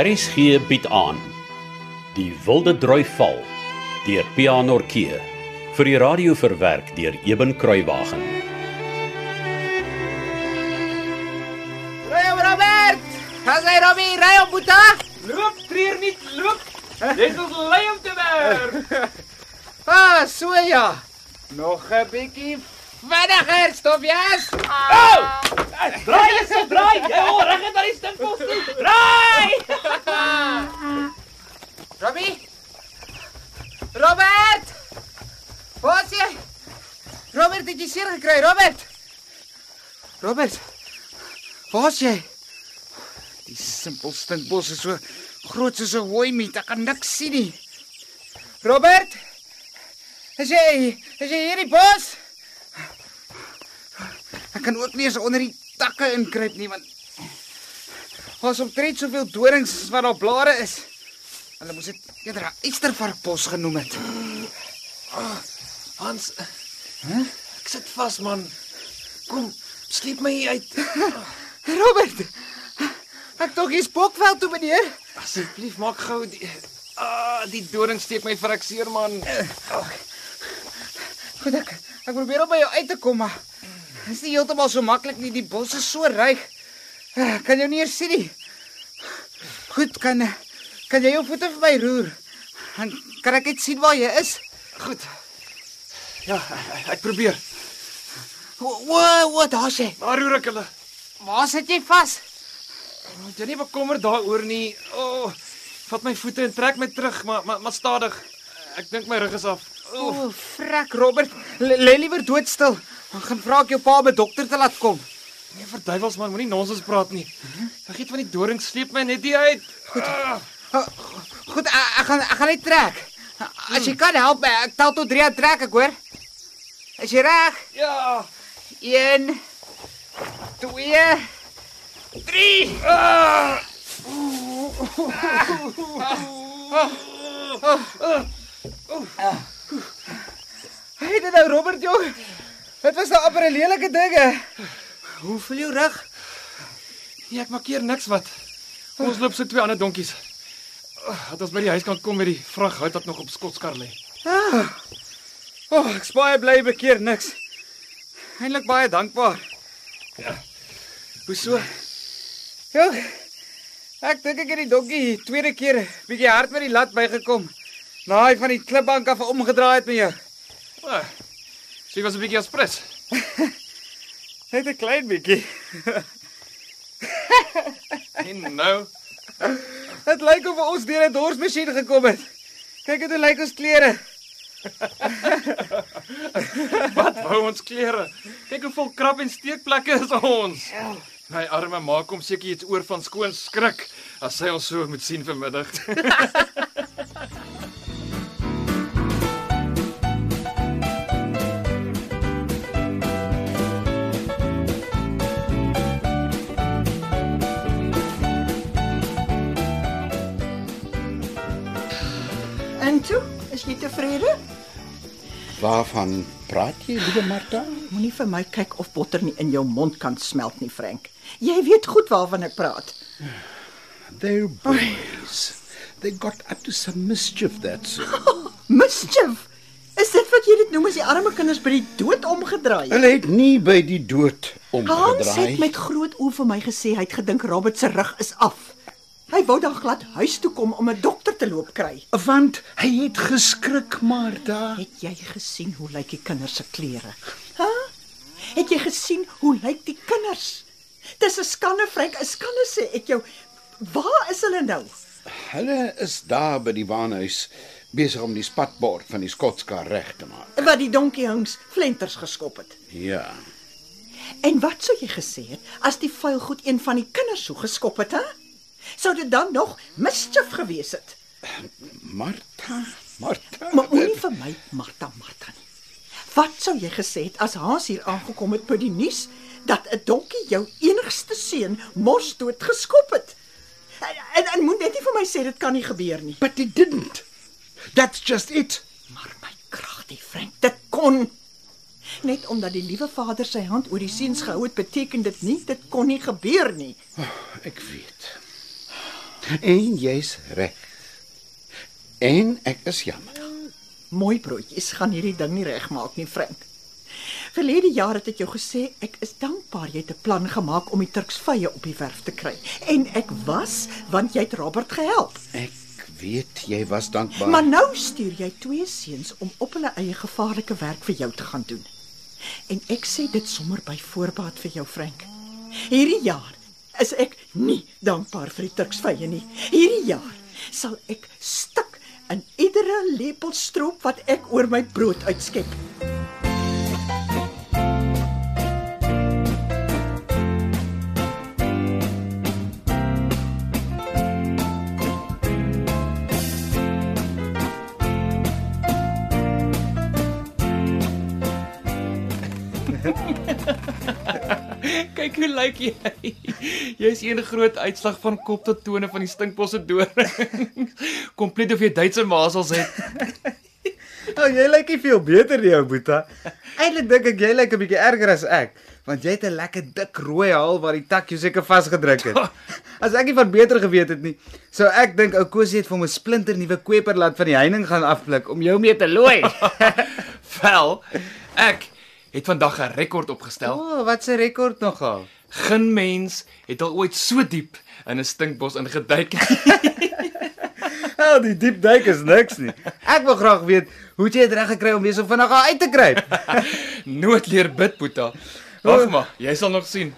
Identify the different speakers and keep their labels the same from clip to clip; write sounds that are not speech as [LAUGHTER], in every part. Speaker 1: RSG bied aan Die Wilde Droi Val deur Pianorkee vir die radio verwerk deur Eben Kruiwagen.
Speaker 2: Ry op Robert! Gaan jy Robbie, ry op Boeta?
Speaker 3: Loop, treur nie, loop. Dis ons lei om te werk.
Speaker 2: [LAUGHS] Ah, so ja.
Speaker 4: Nog 'n bietjie.
Speaker 2: Vinniger, stofjas.
Speaker 3: Ou! Oh! Eh, Draai eens, so draai. Jy hoor reg uit daai stinkels toe.
Speaker 2: [LAUGHS]
Speaker 3: Draai!
Speaker 2: Robbie? Robert! Waar is jy? Robert, het jy seer gekry, Robert? Robert. Waar is jy?
Speaker 4: Die simpel stinkbos is so groot soos 'n hooi miet. Ek kan niks sien nie.
Speaker 2: Robert? Is jy, is jy hier in die bos?
Speaker 4: Ek kan ook nie eens onder die takke inkruip nie want ons omtrent soveel dorings as wat daar blare is. Hulle moes dit eerder 'n eystervarkbos genoem het.
Speaker 5: Hans. Hæ? Ek sit vas man. Kom, sleep my hier uit.
Speaker 2: Robert. Ek dink jy's Bokveld toe, meneer.
Speaker 5: Asseblief maak gou die Ah, die doring steek my frakseer man.
Speaker 4: Goed ek. Ek probeer om by jou uit te kom maar is nie heeltemal so maklik nie. Die bos is so ryk. Ek kan jou nie eens sien nie. Goed kan kan jy jou voete vir my roer? Dan kan ek net sien waar jy is.
Speaker 5: Goed. Ja, ek probeer.
Speaker 4: Wat wat daar's jy?
Speaker 5: Maar roer ek hulle.
Speaker 4: Waar sit jy vas?
Speaker 5: Moet Jy nie bekommer daaroor nie. O, oh, vat my voete en trek my terug, maar maar, maar stadig. Ek dink my rug is af.
Speaker 4: O,
Speaker 5: O, oh,
Speaker 4: oh, frek Robert, L- lê liewer doodstil. Ons gaan vra ek jou pa om 'n dokter te laat kom.
Speaker 5: nee verduiwels man, moenie nonsens praat nie. Vergeet van die doring sleep my net hier uit. Ah, Goed.
Speaker 4: Goed, ek, ek gaan ek gaan net trek. As jy kan help, my, ek tel tot 3 en trek ek hoor. Is jy reg?
Speaker 5: Ja.
Speaker 4: 1 2 3
Speaker 2: Hey, dit nou Robert jong. Dit was nou amper 'n lelike ding. hè?
Speaker 4: Hoe voel jou rug?
Speaker 5: Nee, ek maak hier niks wat. Ons loop so twee ander donkies. Ah, Dat ons by die huis kan kom met die vrag hout wat nog op skotskar lê.
Speaker 4: O, Ah. oh, ek's baie bly bekeer niks. Eindelik baie dankbaar.
Speaker 5: Hoeso?
Speaker 4: Jong. Ek dink ek het die donkie tweede keer bietjie hard met die lat bygekom. Na hy van die klipbank af omgedraai het met jou.
Speaker 5: Ah, Sy was 'n bietjie aspres.
Speaker 4: Net 'n klein bietjie. [LAUGHS]
Speaker 5: En nou,
Speaker 4: Dit lyk of ons deur 'n dorsmasjien gekom het. Kyk hoe lyk ons klere.
Speaker 5: wat wou ons klere? Kyk hoe vol krap en steekplekke is ons. My arme ma kom seker iets oor van skoon skrik as sy ons so moet sien vanmiddag.
Speaker 6: En toe, is jy tevrede?
Speaker 7: Waarvan praat jy, liewe Martha?
Speaker 6: Moenie vir my kyk of botter nie in jou mond kan smelt nie, Frank. Jy weet goed waarvan ek praat.
Speaker 7: They're boys. They got up to some mischief, that's all.
Speaker 6: [LAUGHS] Mischief. Is dit wat jy dit noem as die arme kinders by die dood omgedraai het?
Speaker 7: Hulle het nie by die dood
Speaker 6: Hans het
Speaker 7: omgedraai.
Speaker 6: met groot oë vir my gesê hy het gedink Robert se rug is af. Hy wou dan glad huis toe kom om 'n dokter te loop kry.
Speaker 7: Want hy het geskrik, Martha.
Speaker 6: Het jy gesien hoe lyk die kinders se klere? Hæ? Het jy gesien hoe lyk die kinders? Dis 'n skande, Frank, 'n skande sê ek jou. Waar is hulle nou?
Speaker 7: Hulle is daar by die waanhuis besig om die spatbord van die skotskar reg te maak.
Speaker 6: wat die donkiehings flenters geskop het.
Speaker 7: Ja.
Speaker 6: En wat sou jy gesê het as die vuil goed een van die kinders so geskop het, hè? Sou dit dan nog mischief gewees het?
Speaker 7: Martha, Martha.
Speaker 6: Maar moenie vir my Martha Martha nie. Wat sou jy gesê het as Hans hier aangekom het by die nuus dat 'n donkie jou enigste seun mors dood geskop het? En, en, en moet net nie vir my sê dit kan nie gebeur nie.
Speaker 7: but it didn't. That's just it.
Speaker 6: Maar my kragtie, Frank, dit kon net omdat die liewe vader sy hand oor die seuns gehou het, beteken dit nie dit kon nie gebeur nie.
Speaker 7: Ek weet. En jy's reg. En ek is jammer.
Speaker 6: Mooi broodjies gaan hierdie ding nie regmaak nie, Frank. Verlede jaar het ek jou gesê ek is dankbaar jy het 'n plan gemaak om die Turksvye op die werf te kry. En ek was want jy het Robert gehelp.
Speaker 7: Ek weet jy was dankbaar.
Speaker 6: Maar nou stuur jy twee seuns om op hulle eie gevaarlike werk vir jou te gaan doen. En ek sê dit sommer by voorbaat vir jou, Frank. Hierdie jaar is ek nie dankbaar vir die Turksvye nie. Hierdie jaar sal ek stik in iedere lepel stroop wat ek oor my brood uitskep.
Speaker 5: [LAUGHS] Kyk hoe lyk jy. Jy's een groot uitslag van kop tot tone van die stinkbosse doring. [LAUGHS] Kompleet of jy Duitse masels het.
Speaker 4: Ou, Oh, jy lyk nie veel beter nie, ou Boeta. Eintlik dink ek jy lyk 'n bietjie erger as ek, want jy het 'n lekker dik rooi haal waar die tak jou seker vasgedruk het. [LAUGHS] As ek nie van beter geweet het nie, sou ek dink ou Kosie het vir hom 'n splinter nuwe kweperlat van die heining gaan afblik om jou mee te [LAUGHS] looi.
Speaker 5: Wel, ek het vandag 'n rekord opgestel.
Speaker 4: O, oh, wat 'n rekord [LAUGHS] nogal.
Speaker 5: Geen mens het al ooit so diep in 'n stinkbos ingeduik. [LAUGHS]
Speaker 4: Al Ja, die diep duik is niks nie. Ek wil graag weet hoe het jy dit reg gekry om weer so vinnig daar uit te kruip.
Speaker 5: Nooit leer bid, Boeta. Wag maar, jy sal nog sien.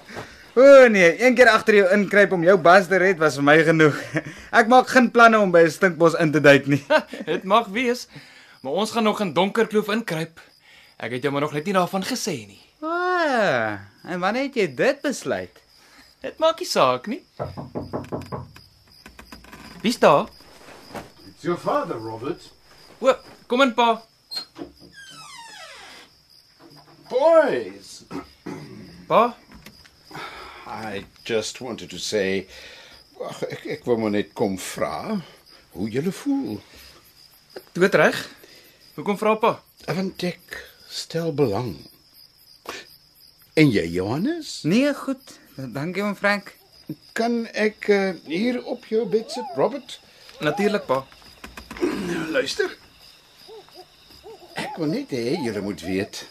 Speaker 4: O nee, een keer agter jou inkruip om jou bas te red was vir my genoeg. [LAUGHS] Ek maak geen planne om by 'n stinkbos in te duik [LAUGHS] nie.
Speaker 5: [LAUGHS] Dit mag wees, maar ons gaan nog in donker kloof inkruip. Ek het jou maar nog net nie daarvan gesê nie.
Speaker 4: Ah, en wanneer het jy dit besluit?
Speaker 5: Dit maak nie saak nie. Wie's daar?
Speaker 8: It's your father, Robert.
Speaker 5: O, kom in pa.
Speaker 8: Boys!
Speaker 5: Pa,
Speaker 7: I just wanted to say ag, ek ek wou maar net kom vra hoe jy voel.
Speaker 5: dood reg. Hoekom vra pa?
Speaker 7: Want ek stel belang. En jy, Johannes,
Speaker 4: Nee, goed. Dankie oom Frank.
Speaker 7: kan ek uh, hier op jou bed sit, Robert?
Speaker 5: Natuurlik pa.
Speaker 7: Luister. Ek wil net hê julle moet weet.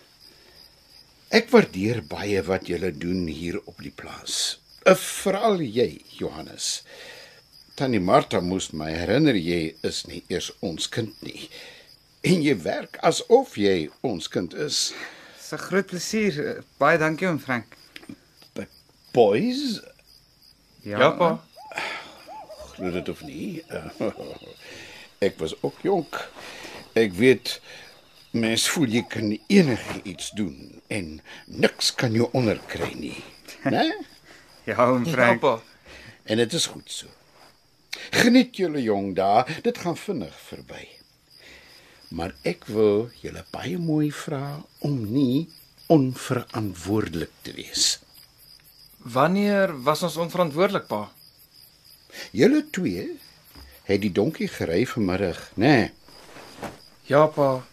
Speaker 7: Ek waardeer baie wat julle doen hier op die plaas. Uh, Veral jy, Johannes. Tannie Martha moes my herinner jy is nie eers ons kind nie. En jy werk asof jy ons kind is.
Speaker 4: Dis 'n groot plesier. Baie dankie oom Frank.
Speaker 7: But boys,
Speaker 5: Ja pa.
Speaker 7: glo dit of nie. [LAUGHS] Ek was ook jonk. Ek weet mens voel jy kan enige iets doen en niks kan jou onderkry nie, [LAUGHS] né?
Speaker 4: Ja oom
Speaker 5: Ja
Speaker 4: Frank.
Speaker 5: pa.
Speaker 7: En dit is goed so. Geniet julle jong dae, dit gaan vinnig verby. Maar ek wil julle baie mooi vra om nie onverantwoordelik te wees.
Speaker 5: Wanneer was ons onverantwoordelik pa?
Speaker 7: Julle twee het die donkie gery vanmiddag, né? Nee.
Speaker 5: Ja pa.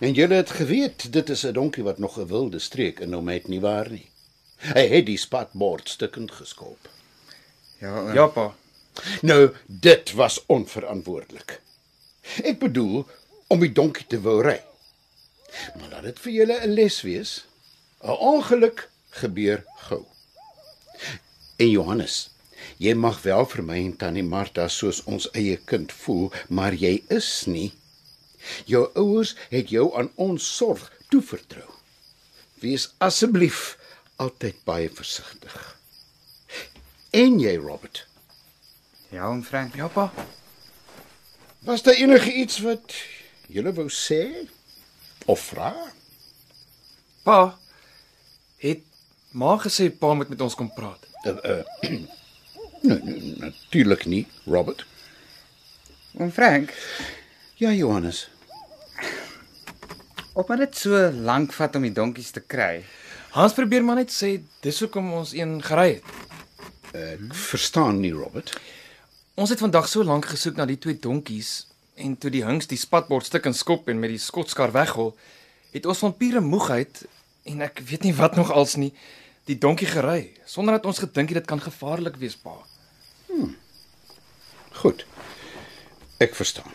Speaker 7: En julle het geweet dit is 'n donkie wat nog 'n wilde streek in hom het nie waar nie. Hy het die spatbord stukkend geskop.
Speaker 4: Ja oom.
Speaker 5: Ja pa.
Speaker 7: Nou dit was onverantwoordelik. Ek bedoel om die donkie te wil ry. Maar laat dit vir julle 'n les wees. 'n Ongeluk gebeur gou. En Johannes, jy mag wel vir my en tannie Martha soos ons eie kind voel, maar jy is nie Jou ouers het jou aan ons sorg toevertrou. Wees asseblief altyd baie versigtig. En jy, Robert,
Speaker 4: Ja oom Frank.
Speaker 5: Ja pa.
Speaker 7: was daar enige iets wat jy wou sê of vra?
Speaker 5: Pa het ma gesê pa moet met ons kom praat.
Speaker 7: Uh, uh, nee, nee, natuurlik nie, Robert.
Speaker 4: Oom Frank,
Speaker 7: Ja, Johannes.
Speaker 4: omdat dit so lank vat om die donkies te kry.
Speaker 5: Hans probeer maar net sê dis hoekom ons een gery het.
Speaker 7: Ek verstaan nie, Robert.
Speaker 5: Ons het vandag so lank gesoek na die twee donkies en toe die hings die spatbord stik en skop en met die skotskar weghol, het ons van pure moegheid en ek weet nie wat nog als nie die donkie gery sonder dat ons gedink het dit kan gevaarlik wees, pa.
Speaker 7: Goed. Ek verstaan.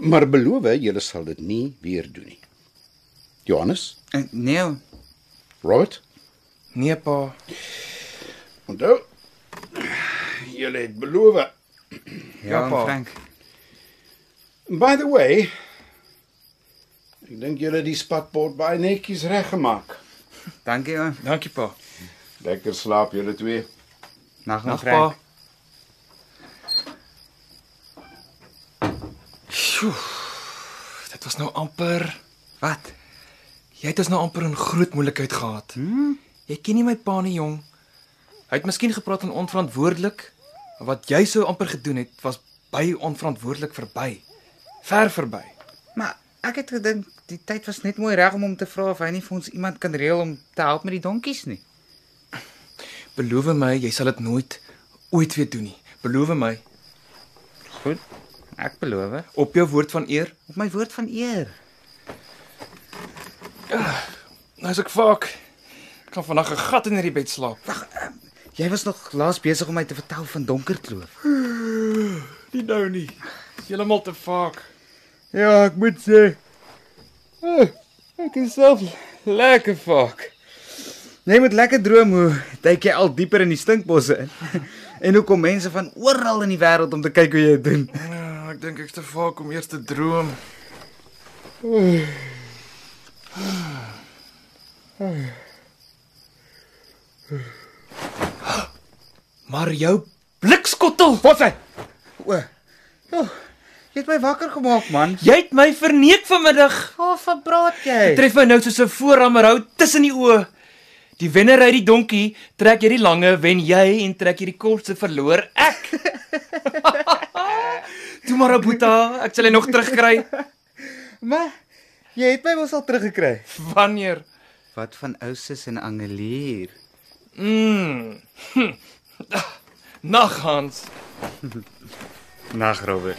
Speaker 7: Maar beloof julle sal dit nie weer doen nie. Johannes,
Speaker 4: Eh, Nee. oom.
Speaker 7: Robert,
Speaker 5: Nee pa,
Speaker 7: onthou julle het beloof.
Speaker 5: Ja,
Speaker 4: oom
Speaker 5: pa.
Speaker 4: Frank.
Speaker 7: By the way, ek dink julle het die spatbord baie netjies reggemaak.
Speaker 4: Dankie oom.
Speaker 5: dankie pa.
Speaker 8: Lekker slaap julle twee.
Speaker 4: Nag oom
Speaker 5: Nag pa.
Speaker 4: Frank.
Speaker 5: Sjoe. Dit was nou amper
Speaker 4: Wat?
Speaker 5: Jy het ons nou amper in groot moeilikheid gehad. Hmm? Jy ken nie my pa nie, jong. Hy het miskien gepraat en onverantwoordelik, maar wat jy sou amper gedoen het, was by onverantwoordelik verby. Ver verby.
Speaker 4: Maar ek het gedink die tyd was net mooi reg om hom te vra of hy nie vir ons iemand kan reël om te help met die donkies nie.
Speaker 5: Beloof my jy sal dit nooit ooit weer doen nie. Beloof my
Speaker 4: Goed. Ek beloof.
Speaker 5: op jou woord van eer.
Speaker 4: Op my woord van eer.
Speaker 5: Nou as ek vaak ek kan vandag 'n gat in hierdie bed slaap.
Speaker 4: Jy was nog laas besig om my te vertel van Donkerkloof.
Speaker 5: Nie nou nie. Dis heeltemal te vaak.
Speaker 4: Ja, ek moet sê.
Speaker 5: Ek is self lekker vaak.
Speaker 4: Jy moet lekker droom hoe duik jy al dieper in die stinkbosse in. [LAUGHS] en hoe kom mense van oral in die wêreld om te kyk hoe jy dit doen.
Speaker 5: Ja, ek dink ek's te vaak om eers te droom. Maar jou blikskottel, wat hy?
Speaker 4: O. Jo, jy het my wakker gemaak, man.
Speaker 5: Jy het my verneek vanmiddag.
Speaker 4: Waarvan praat jy?
Speaker 5: Tref my nou soos 'n voorramerhou tussen die oë. Die wenner ry die donkie, trek jy die lange, wen jy en trek jy die kortste, verloor ek. [LAUGHS] Toe maar, ou Boeta, ek sal jy nog terugkry.
Speaker 4: Maar jy het my mos al teruggekry.
Speaker 5: Wanneer?
Speaker 4: Wat van Ousus en Angelier?
Speaker 5: Mm. Nag Hans.
Speaker 4: Nag, Robert.